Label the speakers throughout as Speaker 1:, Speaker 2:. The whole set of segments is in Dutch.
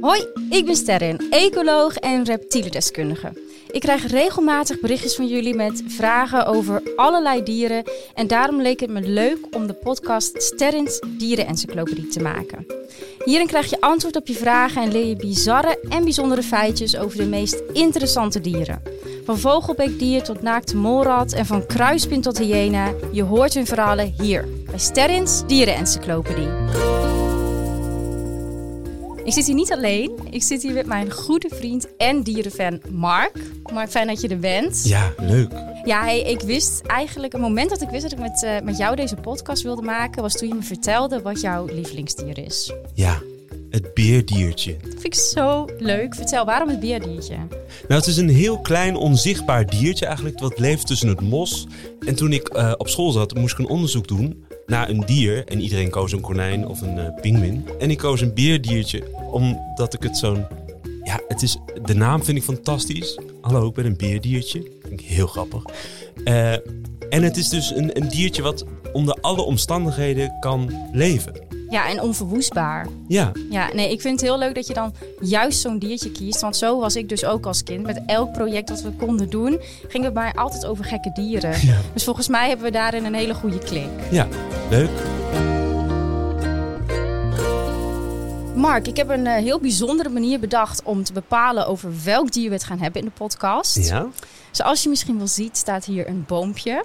Speaker 1: Hoi, ik ben Sterren, ecoloog en reptielendeskundige. Ik krijg regelmatig berichtjes van jullie met vragen over allerlei dieren. En daarom leek het me leuk om de podcast Sterrins Dierenencyclopedie te maken. Hierin krijg je antwoord op je vragen en leer je bizarre en bijzondere feitjes over de meest interessante dieren. Van vogelbeekdier tot naakte molrat en van kruispin tot hyena. Je hoort hun verhalen hier, bij Sterrins Dierenencyclopedie. Ik zit hier niet alleen. Ik zit hier met mijn goede vriend en dierenfan Mark. Mark, fijn dat je er bent.
Speaker 2: Ja, leuk.
Speaker 1: Ja, hey, ik wist eigenlijk, het moment dat ik wist dat ik met, eh, met jou deze podcast wilde maken, was toen je me vertelde wat jouw lievelingsdier is.
Speaker 2: Ja, het beerdiertje.
Speaker 1: Dat vind ik zo leuk. Vertel, waarom het beerdiertje?
Speaker 2: Nou, het is een heel klein onzichtbaar diertje eigenlijk, wat leeft tussen het mos. En toen ik eh, op school zat, moest ik een onderzoek doen naar een dier. En iedereen koos een konijn of een eh pinguïn. En ik koos een beerdiertje, omdat ik het zo'n... Ja, het is, de naam vind ik fantastisch. Hallo, ik ben een beerdiertje. Vind ik heel grappig. Eh, en het is dus een, een diertje wat onder alle omstandigheden kan leven.
Speaker 1: Ja, en onverwoestbaar.
Speaker 2: Ja,
Speaker 1: Ja, nee, ik vind het heel leuk dat je dan juist zo'n diertje kiest. Want zo was ik dus ook als kind. Met elk project dat we konden doen, ging het maar altijd over gekke dieren.
Speaker 2: Ja.
Speaker 1: Dus volgens mij hebben we daarin een hele goede klik.
Speaker 2: ja, leuk.
Speaker 1: Mark, ik heb een eh, heel bijzondere manier bedacht om te bepalen over welk dier we het gaan hebben in de podcast.
Speaker 2: Ja,
Speaker 1: Zoals je misschien wel ziet, staat hier een boompje.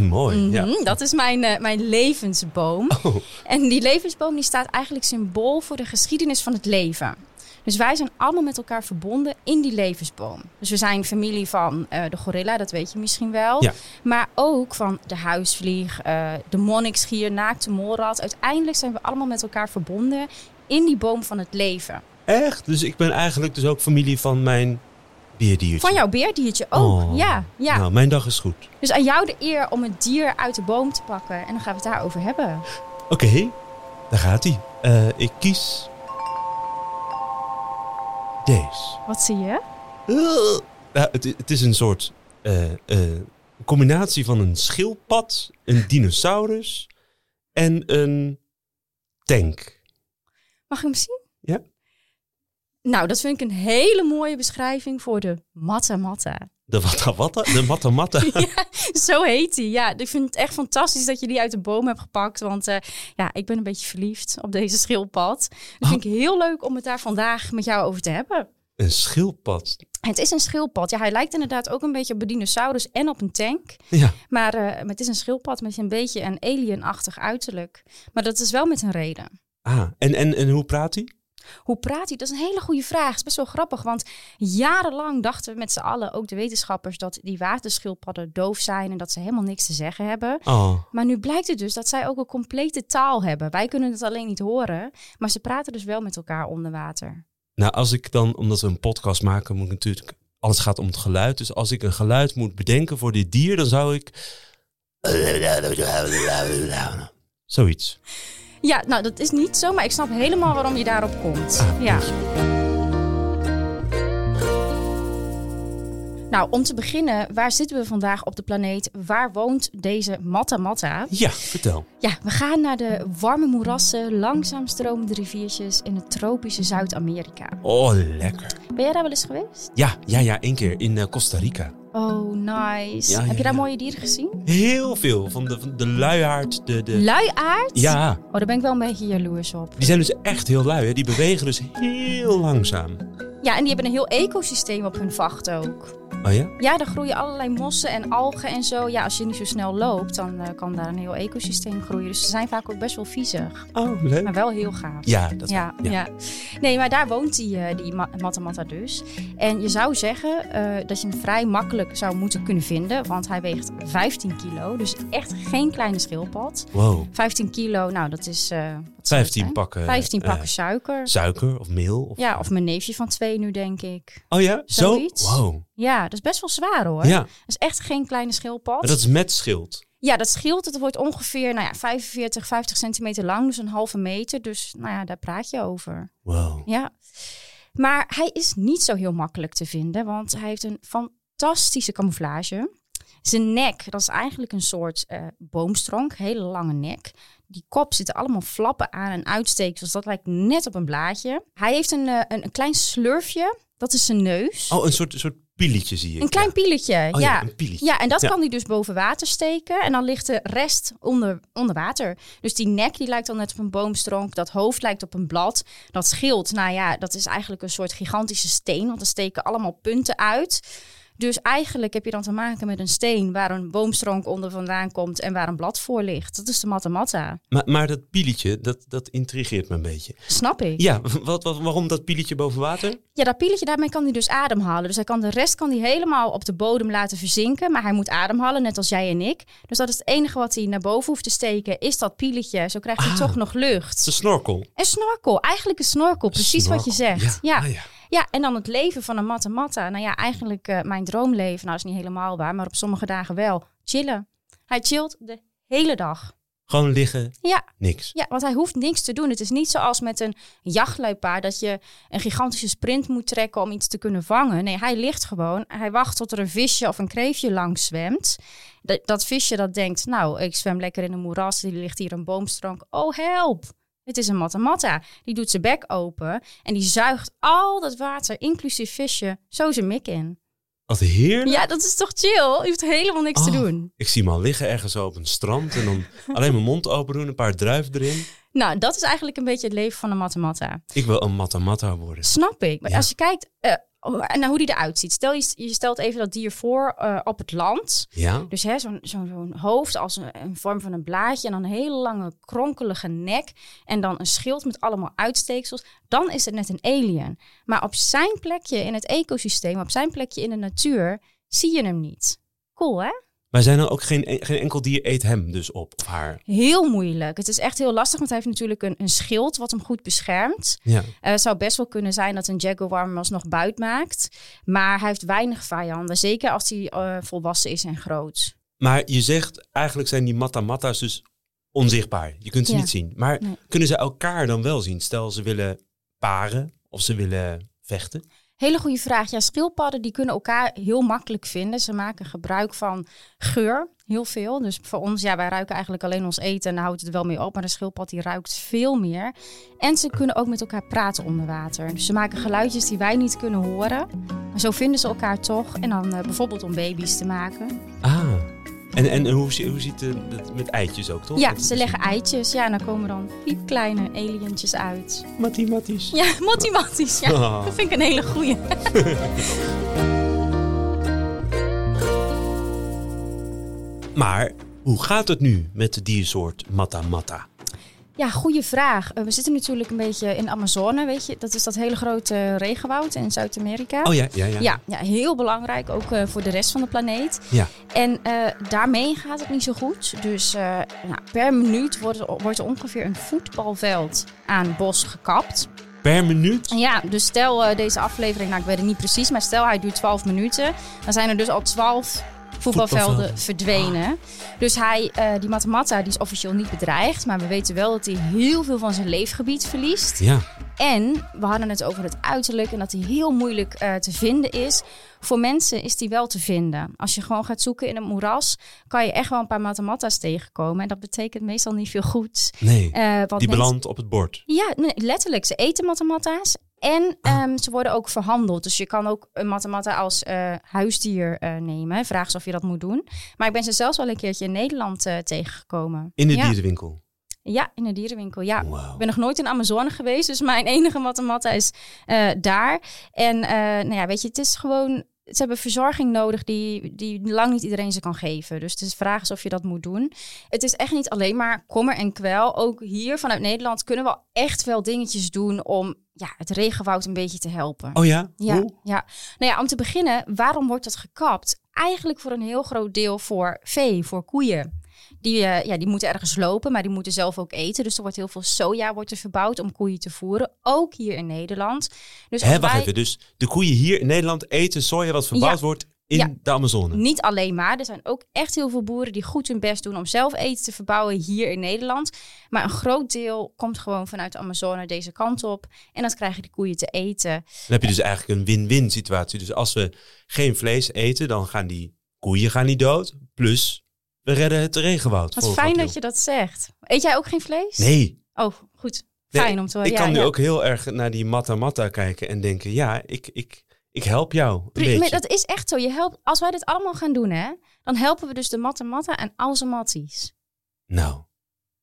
Speaker 2: mooi. ja.
Speaker 1: Mhm, Dat is mijn, eh, mijn levensboom.
Speaker 2: Oh,
Speaker 1: En die levensboom die staat eigenlijk symbool voor de geschiedenis van het leven. Dus wij zijn allemaal met elkaar verbonden in die levensboom. Dus we zijn familie van eh, de gorilla, dat weet je misschien wel.
Speaker 2: Ja.
Speaker 1: Maar ook van de huisvlieg, eh, de monniksgier, naakte molrat. Uiteindelijk zijn we allemaal met elkaar verbonden in die boom van het leven.
Speaker 2: echt? Dus ik ben eigenlijk dus ook familie van mijn beerdiertje.
Speaker 1: Van jouw beerdiertje ook.
Speaker 2: Oh.
Speaker 1: Ja, ja.
Speaker 2: Nou, mijn dag is goed.
Speaker 1: Dus aan jou de eer om het dier uit de boom te pakken. En dan gaan we het daarover hebben.
Speaker 2: Oké, daar gaat hij. Eh, ik kies... Deze.
Speaker 1: Wat zie je?
Speaker 2: Nou, het, i- het is een soort eh, eh, combinatie van een schildpad, een dinosaurus en een tank.
Speaker 1: Mag ik hem zien?
Speaker 2: Ja.
Speaker 1: Nou, dat vind ik een hele mooie beschrijving voor de matta matta.
Speaker 2: De watta watta, de matta matta.
Speaker 1: Zo heet hij. Ja, ik vind het echt fantastisch dat je die uit de boom hebt gepakt. Want eh, ja, ik ben een beetje verliefd op deze schildpad. Dus
Speaker 2: Oh.
Speaker 1: vind ik heel leuk om het daar vandaag met jou over te hebben.
Speaker 2: Een schildpad.
Speaker 1: Het is een schildpad. Ja, hij lijkt inderdaad ook een beetje op een dinosaurus en op een tank.
Speaker 2: Ja.
Speaker 1: Maar eh, het is een schildpad met een beetje een alienachtig uiterlijk. Maar dat is wel met een reden.
Speaker 2: Ah, en, en, en hoe praat hij?
Speaker 1: Hoe praat hij? Dat is een hele goede vraag. Het is best wel grappig, want jarenlang dachten we met z'n allen, ook de wetenschappers, dat die waterschildpadden doof zijn en dat ze helemaal niks te zeggen hebben.
Speaker 2: Oh,
Speaker 1: Maar nu blijkt het dus dat zij ook een complete taal hebben. Wij kunnen het alleen niet horen, maar ze praten dus wel met elkaar onder water.
Speaker 2: Nou, als ik dan, omdat we een podcast maken, moet ik natuurlijk. Alles gaat om het geluid. Dus als ik een geluid moet bedenken voor dit dier, dan zou ik. Zoiets.
Speaker 1: Ja, nou dat is niet zo, maar ik snap helemaal waarom je daarop komt. Ja. Nou, om te beginnen, waar zitten we vandaag op de planeet? Waar woont deze Matta Matta?
Speaker 2: Ja, vertel.
Speaker 1: Ja, we gaan naar de warme moerassen, langzaam stromende riviertjes in het tropische Zuid-Amerika.
Speaker 2: Oh, lekker.
Speaker 1: Ben jij daar wel eens geweest?
Speaker 2: Ja, ja, ja, één keer in eh, Costa Rica.
Speaker 1: Oh, nice.
Speaker 2: Ja,
Speaker 1: Heb
Speaker 2: ja,
Speaker 1: je daar
Speaker 2: ja.
Speaker 1: mooie dieren gezien?
Speaker 2: Heel veel. Van de, van de luiaard, de. de...
Speaker 1: Luiaard?
Speaker 2: Ja,
Speaker 1: Oh, daar ben ik wel een beetje jaloers op.
Speaker 2: die zijn dus echt heel lui. Hè? Die bewegen dus heel langzaam.
Speaker 1: Ja, en die hebben een heel ecosysteem op hun vacht ook.
Speaker 2: Oh ja?
Speaker 1: Ja, daar groeien allerlei mossen en algen en zo. Ja, als je niet zo snel loopt, dan eh, kan daar een heel ecosysteem groeien. Dus ze zijn vaak ook best wel viezig,
Speaker 2: Oh, leuk.
Speaker 1: maar wel heel gaaf.
Speaker 2: Ja, dat
Speaker 1: Ja, ja.
Speaker 2: ja.
Speaker 1: Nee, maar daar woont die, eh, die Ma- Matta Matta dus. En je zou zeggen eh, dat je hem vrij makkelijk zou moeten kunnen vinden. Want hij weegt 15 kilo. Dus echt geen kleine schildpad.
Speaker 2: Wow.
Speaker 1: 15 kilo, nou dat is... eh, wat zou het
Speaker 2: 15
Speaker 1: zijn?
Speaker 2: pakken.
Speaker 1: 15
Speaker 2: eh,
Speaker 1: pakken suiker.
Speaker 2: suiker of meel. Of...
Speaker 1: Ja, of mijn neefje van twee nu, denk ik.
Speaker 2: Oh ja?
Speaker 1: Zoiets.
Speaker 2: Zo? Wow.
Speaker 1: Ja, dat is best wel zwaar hoor.
Speaker 2: Ja,
Speaker 1: Dat is echt geen kleine schildpad.
Speaker 2: maar dat is met schild.
Speaker 1: Ja, dat scheelt. Het wordt ongeveer nou ja, 45, 50 centimeter lang. Dus een halve meter. Dus nou ja, daar praat je over.
Speaker 2: Wow.
Speaker 1: Ja. Maar hij is niet zo heel makkelijk te vinden, want hij heeft een fantastische camouflage. Zijn nek, dat is eigenlijk een soort eh, boomstronk, hele lange nek. die kop zitten allemaal flappen aan en uitsteeksels. Dat lijkt net op een blaadje. Hij heeft een, eh, een, een klein slurfje. Dat is zijn neus.
Speaker 2: Oh, een soort, soort pieletje zie ik.
Speaker 1: een klein
Speaker 2: ja.
Speaker 1: pieletje.
Speaker 2: Oh ja,
Speaker 1: ja,
Speaker 2: een pieletje.
Speaker 1: Ja, en dat
Speaker 2: Ja.
Speaker 1: kan hij dus boven water steken. En dan ligt de rest onder, onder water. Dus die nek die lijkt al net op een boomstronk. Dat hoofd lijkt op een blad. Dat schild, nou ja, dat is eigenlijk een soort gigantische steen. Want er steken allemaal punten uit. Dus eigenlijk heb je dan te maken met een steen waar een boomstronk onder vandaan komt en waar een blad voor ligt. Dat is de matamata.
Speaker 2: Maar, maar dat pieletje, dat, dat intrigeert me een beetje.
Speaker 1: Snap ik.
Speaker 2: Ja, wat, wat, waarom dat pieletje boven water?
Speaker 1: Ja, dat pieletje, daarmee kan hij dus ademhalen. Dus hij kan de rest kan hij helemaal op de bodem laten verzinken. Maar hij moet ademhalen, net als jij en ik. Dus dat is het enige wat hij naar boven hoeft te steken, is dat pieletje. Zo krijgt hij
Speaker 2: Ah.
Speaker 1: toch nog
Speaker 2: Het is
Speaker 1: lucht.
Speaker 2: een snorkel.
Speaker 1: Een snorkel, eigenlijk een snorkel, precies wat je
Speaker 2: Snorkel.
Speaker 1: zegt.
Speaker 2: Ja.
Speaker 1: Ja.
Speaker 2: Ah,
Speaker 1: Ja.
Speaker 2: ja.
Speaker 1: en dan het leven van een matte matta. Nou ja, eigenlijk eh, mijn droomleven, nou dat is niet helemaal waar, maar op sommige dagen wel. Chillen. Hij chillt de hele dag.
Speaker 2: Gewoon liggen,
Speaker 1: Ja,
Speaker 2: niks.
Speaker 1: ja, want hij hoeft niks te doen. Het is niet zoals met een jachtluipaard dat je een gigantische sprint moet trekken om iets te kunnen vangen. Nee, hij ligt gewoon. Hij wacht tot er een visje of een kreefje langs zwemt. Dat, dat visje dat denkt, nou, ik zwem lekker in een moeras, er ligt hier een boomstronk. Oh, help! Het is een matamata. Die doet zijn bek open en die zuigt al dat water, inclusief visje, zo zijn mik in.
Speaker 2: Wat heerlijk.
Speaker 1: Ja, dat is toch chill? Je hoeft helemaal niks te
Speaker 2: Oh.
Speaker 1: doen.
Speaker 2: Ik zie hem al liggen ergens op een strand en dan alleen mijn mond open doen, een paar druiven erin.
Speaker 1: Nou, dat is eigenlijk een beetje het leven van een matamata.
Speaker 2: Ik wil een matamata worden.
Speaker 1: Snap ik. Maar
Speaker 2: Ja.
Speaker 1: als je kijkt eh, oh, naar hoe die eruit ziet. Stel je, je stelt even dat dier voor eh, op het land.
Speaker 2: Ja?
Speaker 1: Dus hè, zo'n, zo'n, zo'n hoofd als een, een vorm van een blaadje. En dan een hele lange kronkelige nek. En dan een schild met allemaal uitsteeksels. Dan is het net een alien. Maar op zijn plekje in het ecosysteem, op zijn plekje in de natuur, zie je hem niet. Cool hè?
Speaker 2: Maar zijn er ook geen, geen enkel dier eet hem dus op of haar?
Speaker 1: Heel moeilijk. Het is echt heel lastig, want hij heeft natuurlijk een, een schild wat hem goed beschermt.
Speaker 2: Ja.
Speaker 1: Eh, Het zou best wel kunnen zijn dat een jaguar hem alsnog buit maakt. Maar hij heeft weinig vijanden. Zeker als hij eh, volwassen is en groot.
Speaker 2: Maar je zegt eigenlijk zijn die matamata's dus onzichtbaar. Je kunt ze
Speaker 1: Ja.
Speaker 2: niet zien. Maar
Speaker 1: Nee.
Speaker 2: kunnen ze elkaar dan wel zien? Stel ze willen paren of ze willen vechten.
Speaker 1: Hele goede vraag. Ja, schildpadden die kunnen elkaar heel makkelijk vinden. Ze maken gebruik van geur, heel veel. Dus voor ons, ja, wij ruiken eigenlijk alleen ons eten en daar houdt het wel mee op. Maar de schildpad die ruikt veel meer. En ze kunnen ook met elkaar praten onder water. Dus ze maken geluidjes die wij niet kunnen horen. Maar zo vinden ze elkaar toch. En dan eh, bijvoorbeeld om baby's te maken.
Speaker 2: Ah. En, en hoe, zie- hoe ziet het dat met eitjes ook, toch?
Speaker 1: Ja,
Speaker 2: Dat-
Speaker 1: ze leggen eitjes. Ja, en dan komen dan piepkleine alientjes uit.
Speaker 2: Mathematisch.
Speaker 1: Ja, motimatties. Ja,
Speaker 2: Oh.
Speaker 1: dat vind ik een hele goeie.
Speaker 2: Maar hoe gaat het nu met de diersoort matamata?
Speaker 1: Ja, goede vraag. Eh, we zitten natuurlijk een beetje in de Amazone, weet je. Dat is dat hele grote regenwoud in Zuid-Amerika.
Speaker 2: Oh ja, ja, ja.
Speaker 1: Ja, ja, heel belangrijk, ook eh, voor de rest van de planeet.
Speaker 2: Ja.
Speaker 1: En eh, daarmee gaat het niet zo goed. Dus eh, nou, per minuut wordt, er- wordt er ongeveer een voetbalveld aan bos gekapt.
Speaker 2: Per minuut?
Speaker 1: Ja, dus stel eh, deze aflevering, nou ik weet het niet precies, maar stel hij duurt 12 minuten. Dan zijn er dus al 12 voetbalvelden
Speaker 2: Voetbalvelden.
Speaker 1: verdwenen. Dus hij, eh, die Matamata, die is officieel niet bedreigd. Maar we weten wel dat hij heel veel van zijn leefgebied verliest.
Speaker 2: Ja.
Speaker 1: En we hadden het over het uiterlijk en dat hij heel moeilijk eh, te vinden is. Voor mensen is die wel te vinden. Als je gewoon gaat zoeken in het moeras, kan je echt wel een paar Matamata's tegenkomen. En dat betekent meestal niet veel goeds.
Speaker 2: Nee.
Speaker 1: Eh, want
Speaker 2: Die
Speaker 1: mensen-
Speaker 2: belandt op het bord.
Speaker 1: ja, nee, letterlijk. Ze eten matamata's. En ehm, ze worden ook verhandeld. Dus je kan ook een matamata als eh, huisdier eh, nemen. Vraag eens of je dat moet doen. Maar ik ben ze zelfs wel een keertje in Nederland eh, tegengekomen.
Speaker 2: In de
Speaker 1: ja.
Speaker 2: dierenwinkel.
Speaker 1: Ja, in de dierenwinkel. Ja.
Speaker 2: Wauw.
Speaker 1: Ik ben nog nooit in de Amazone geweest. Dus mijn enige matamata is eh, daar. En eh, nou ja, weet je, het is gewoon... Ze hebben verzorging nodig die, die lang niet iedereen ze kan geven. Dus het is vraag is of je dat moet doen. Het is echt niet alleen maar kommer en kwel. Ook hier vanuit Nederland kunnen we echt wel dingetjes doen om ja, het regenwoud een beetje te helpen.
Speaker 2: Oh ja?
Speaker 1: Ja,
Speaker 2: Hoe?
Speaker 1: ja. Nou ja, om te beginnen, waarom wordt dat gekapt? Eigenlijk voor een heel groot deel voor vee, voor koeien. Die, eh, ja, die moeten ergens lopen, maar die moeten zelf ook eten. Dus er wordt heel veel soja wordt er verbouwd om koeien te voeren. Ook hier in Nederland. Dus
Speaker 2: Hè,
Speaker 1: als
Speaker 2: wacht
Speaker 1: wij-
Speaker 2: even. Dus de koeien hier in Nederland eten soja wat verbouwd wordt in
Speaker 1: Ja.
Speaker 2: de Amazone.
Speaker 1: Niet alleen maar. Er zijn ook echt heel veel boeren die goed hun best doen om zelf eten te verbouwen hier in Nederland. Maar een groot deel komt gewoon vanuit de Amazone deze kant op. En dat krijgen die koeien te eten.
Speaker 2: Dan heb je dus eigenlijk een win-win situatie. Dus als we geen vlees eten, dan gaan die koeien gaan niet dood. Plus, we We redden het regenwoud.
Speaker 1: Wat
Speaker 2: voor
Speaker 1: fijn
Speaker 2: Goudwiel.
Speaker 1: dat je dat zegt. Eet jij ook geen vlees?
Speaker 2: Nee.
Speaker 1: Oh, goed.
Speaker 2: Nee,
Speaker 1: Fijn om te horen. Oh,
Speaker 2: Ik
Speaker 1: Ja,
Speaker 2: kan nu
Speaker 1: ja.
Speaker 2: ook heel erg naar die matta matta kijken en denken, ja, ik, ik, ik help jou een
Speaker 1: Pri- maar
Speaker 2: beetje.
Speaker 1: dat is echt zo. Je helpt, als wij dit allemaal gaan doen, hè, dan helpen we dus de matte matta en al zijn matties.
Speaker 2: Nou,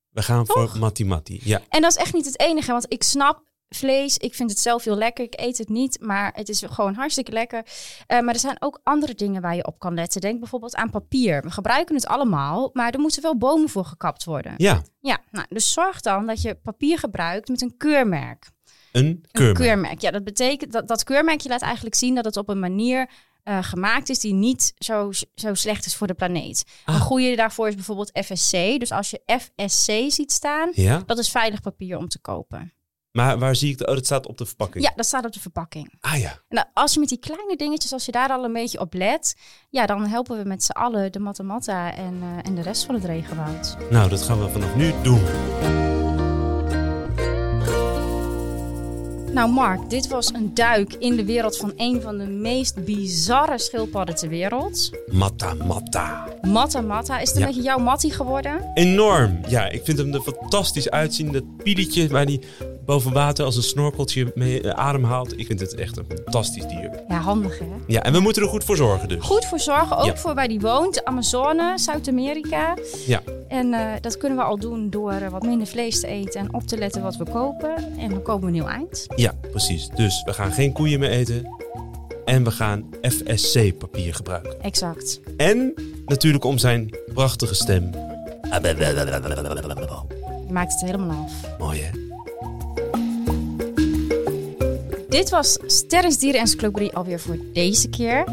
Speaker 2: we gaan
Speaker 1: Toch?
Speaker 2: voor Matti Matti. Ja,
Speaker 1: En dat is echt niet het enige, want ik snap vlees. Ik vind het zelf heel lekker. Ik eet het niet, maar het is gewoon hartstikke lekker. Eh, maar er zijn ook andere dingen waar je op kan letten. Denk bijvoorbeeld aan papier. We gebruiken het allemaal, maar er moeten wel bomen voor gekapt worden.
Speaker 2: ja
Speaker 1: Ja, nou, dus zorg dan dat je papier gebruikt met een keurmerk.
Speaker 2: een
Speaker 1: Een
Speaker 2: keurmerk.
Speaker 1: keurmerk. Ja, dat betekent dat dat keurmerkje laat eigenlijk zien dat het op een manier eh, gemaakt is die niet zo, zo slecht is voor de planeet.
Speaker 2: Ah.
Speaker 1: Een goede daarvoor is bijvoorbeeld FSC. Dus als je FSC ziet staan,
Speaker 2: Ja,
Speaker 1: dat is veilig papier om te kopen.
Speaker 2: maar waar zie ik dat? Oh, dat staat op de verpakking.
Speaker 1: Ja, dat staat op de verpakking.
Speaker 2: Ah ja,
Speaker 1: En nou, als je met die kleine dingetjes, als je daar al een beetje op let, ja, dan helpen we met z'n allen de matta matta en, eh, en de rest van het regenwoud.
Speaker 2: nou dat gaan we vanaf nu doen.
Speaker 1: Nou, Mark, dit was een duik in de wereld van een van de meest bizarre schildpadden ter wereld.
Speaker 2: Matta matta.
Speaker 1: Matta Matta. Is het een
Speaker 2: Ja.
Speaker 1: beetje jouw mattie geworden?
Speaker 2: Enorm. Ja, ik vind hem er fantastisch uitzien. Dat pieletje waar hij boven water als een snorkeltje mee eh, ademhaalt. Ik vind het echt een fantastisch dier.
Speaker 1: Ja, handig hè?
Speaker 2: Ja, en we moeten er goed voor zorgen dus.
Speaker 1: Goed voor zorgen, ook
Speaker 2: Ja.
Speaker 1: voor waar die woont. Amazone, Zuid-Amerika.
Speaker 2: Ja.
Speaker 1: En eh, dat kunnen we al doen door eh, wat minder vlees te eten en op te letten wat we kopen. En dan komen we een nieuw eind.
Speaker 2: Ja, precies. Dus we gaan geen koeien meer eten. En we gaan FSC-papier gebruiken.
Speaker 1: Exact.
Speaker 2: En natuurlijk om zijn prachtige stem.
Speaker 1: Je maakt het helemaal af.
Speaker 2: Mooi hè?
Speaker 1: Dit was Sterrens Dieren Encyclopedie alweer voor deze keer.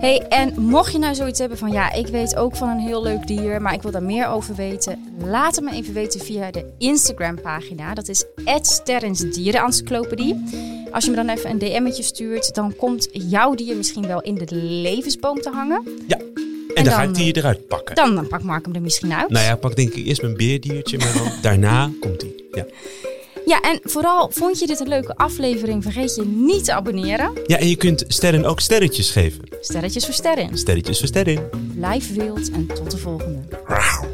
Speaker 1: Hey, en mocht je nou zoiets hebben van ja, ik weet ook van een heel leuk dier, maar ik wil daar meer over weten, laat het me even weten via de Instagram pagina. Dat is Sterrens Dieren Encyclopedie. Als je me dan even een DM'tje stuurt, dan komt jouw dier misschien wel in de levensboom te hangen.
Speaker 2: Ja. En dan ga ik
Speaker 1: dan,
Speaker 2: die eruit pakken.
Speaker 1: Dan, dan pakt Mark hem er misschien uit.
Speaker 2: Nou ja, pak denk ik eerst mijn beerdiertje, maar dan daarna komt die. Ja.
Speaker 1: Ja, en vooral vond je dit een leuke aflevering, vergeet je niet te abonneren.
Speaker 2: ja, en je kunt sterren ook sterretjes geven.
Speaker 1: Sterretjes voor Sterrens.
Speaker 2: Sterretjes voor sterren.
Speaker 1: Blijf wild en tot de volgende.
Speaker 2: Rauw.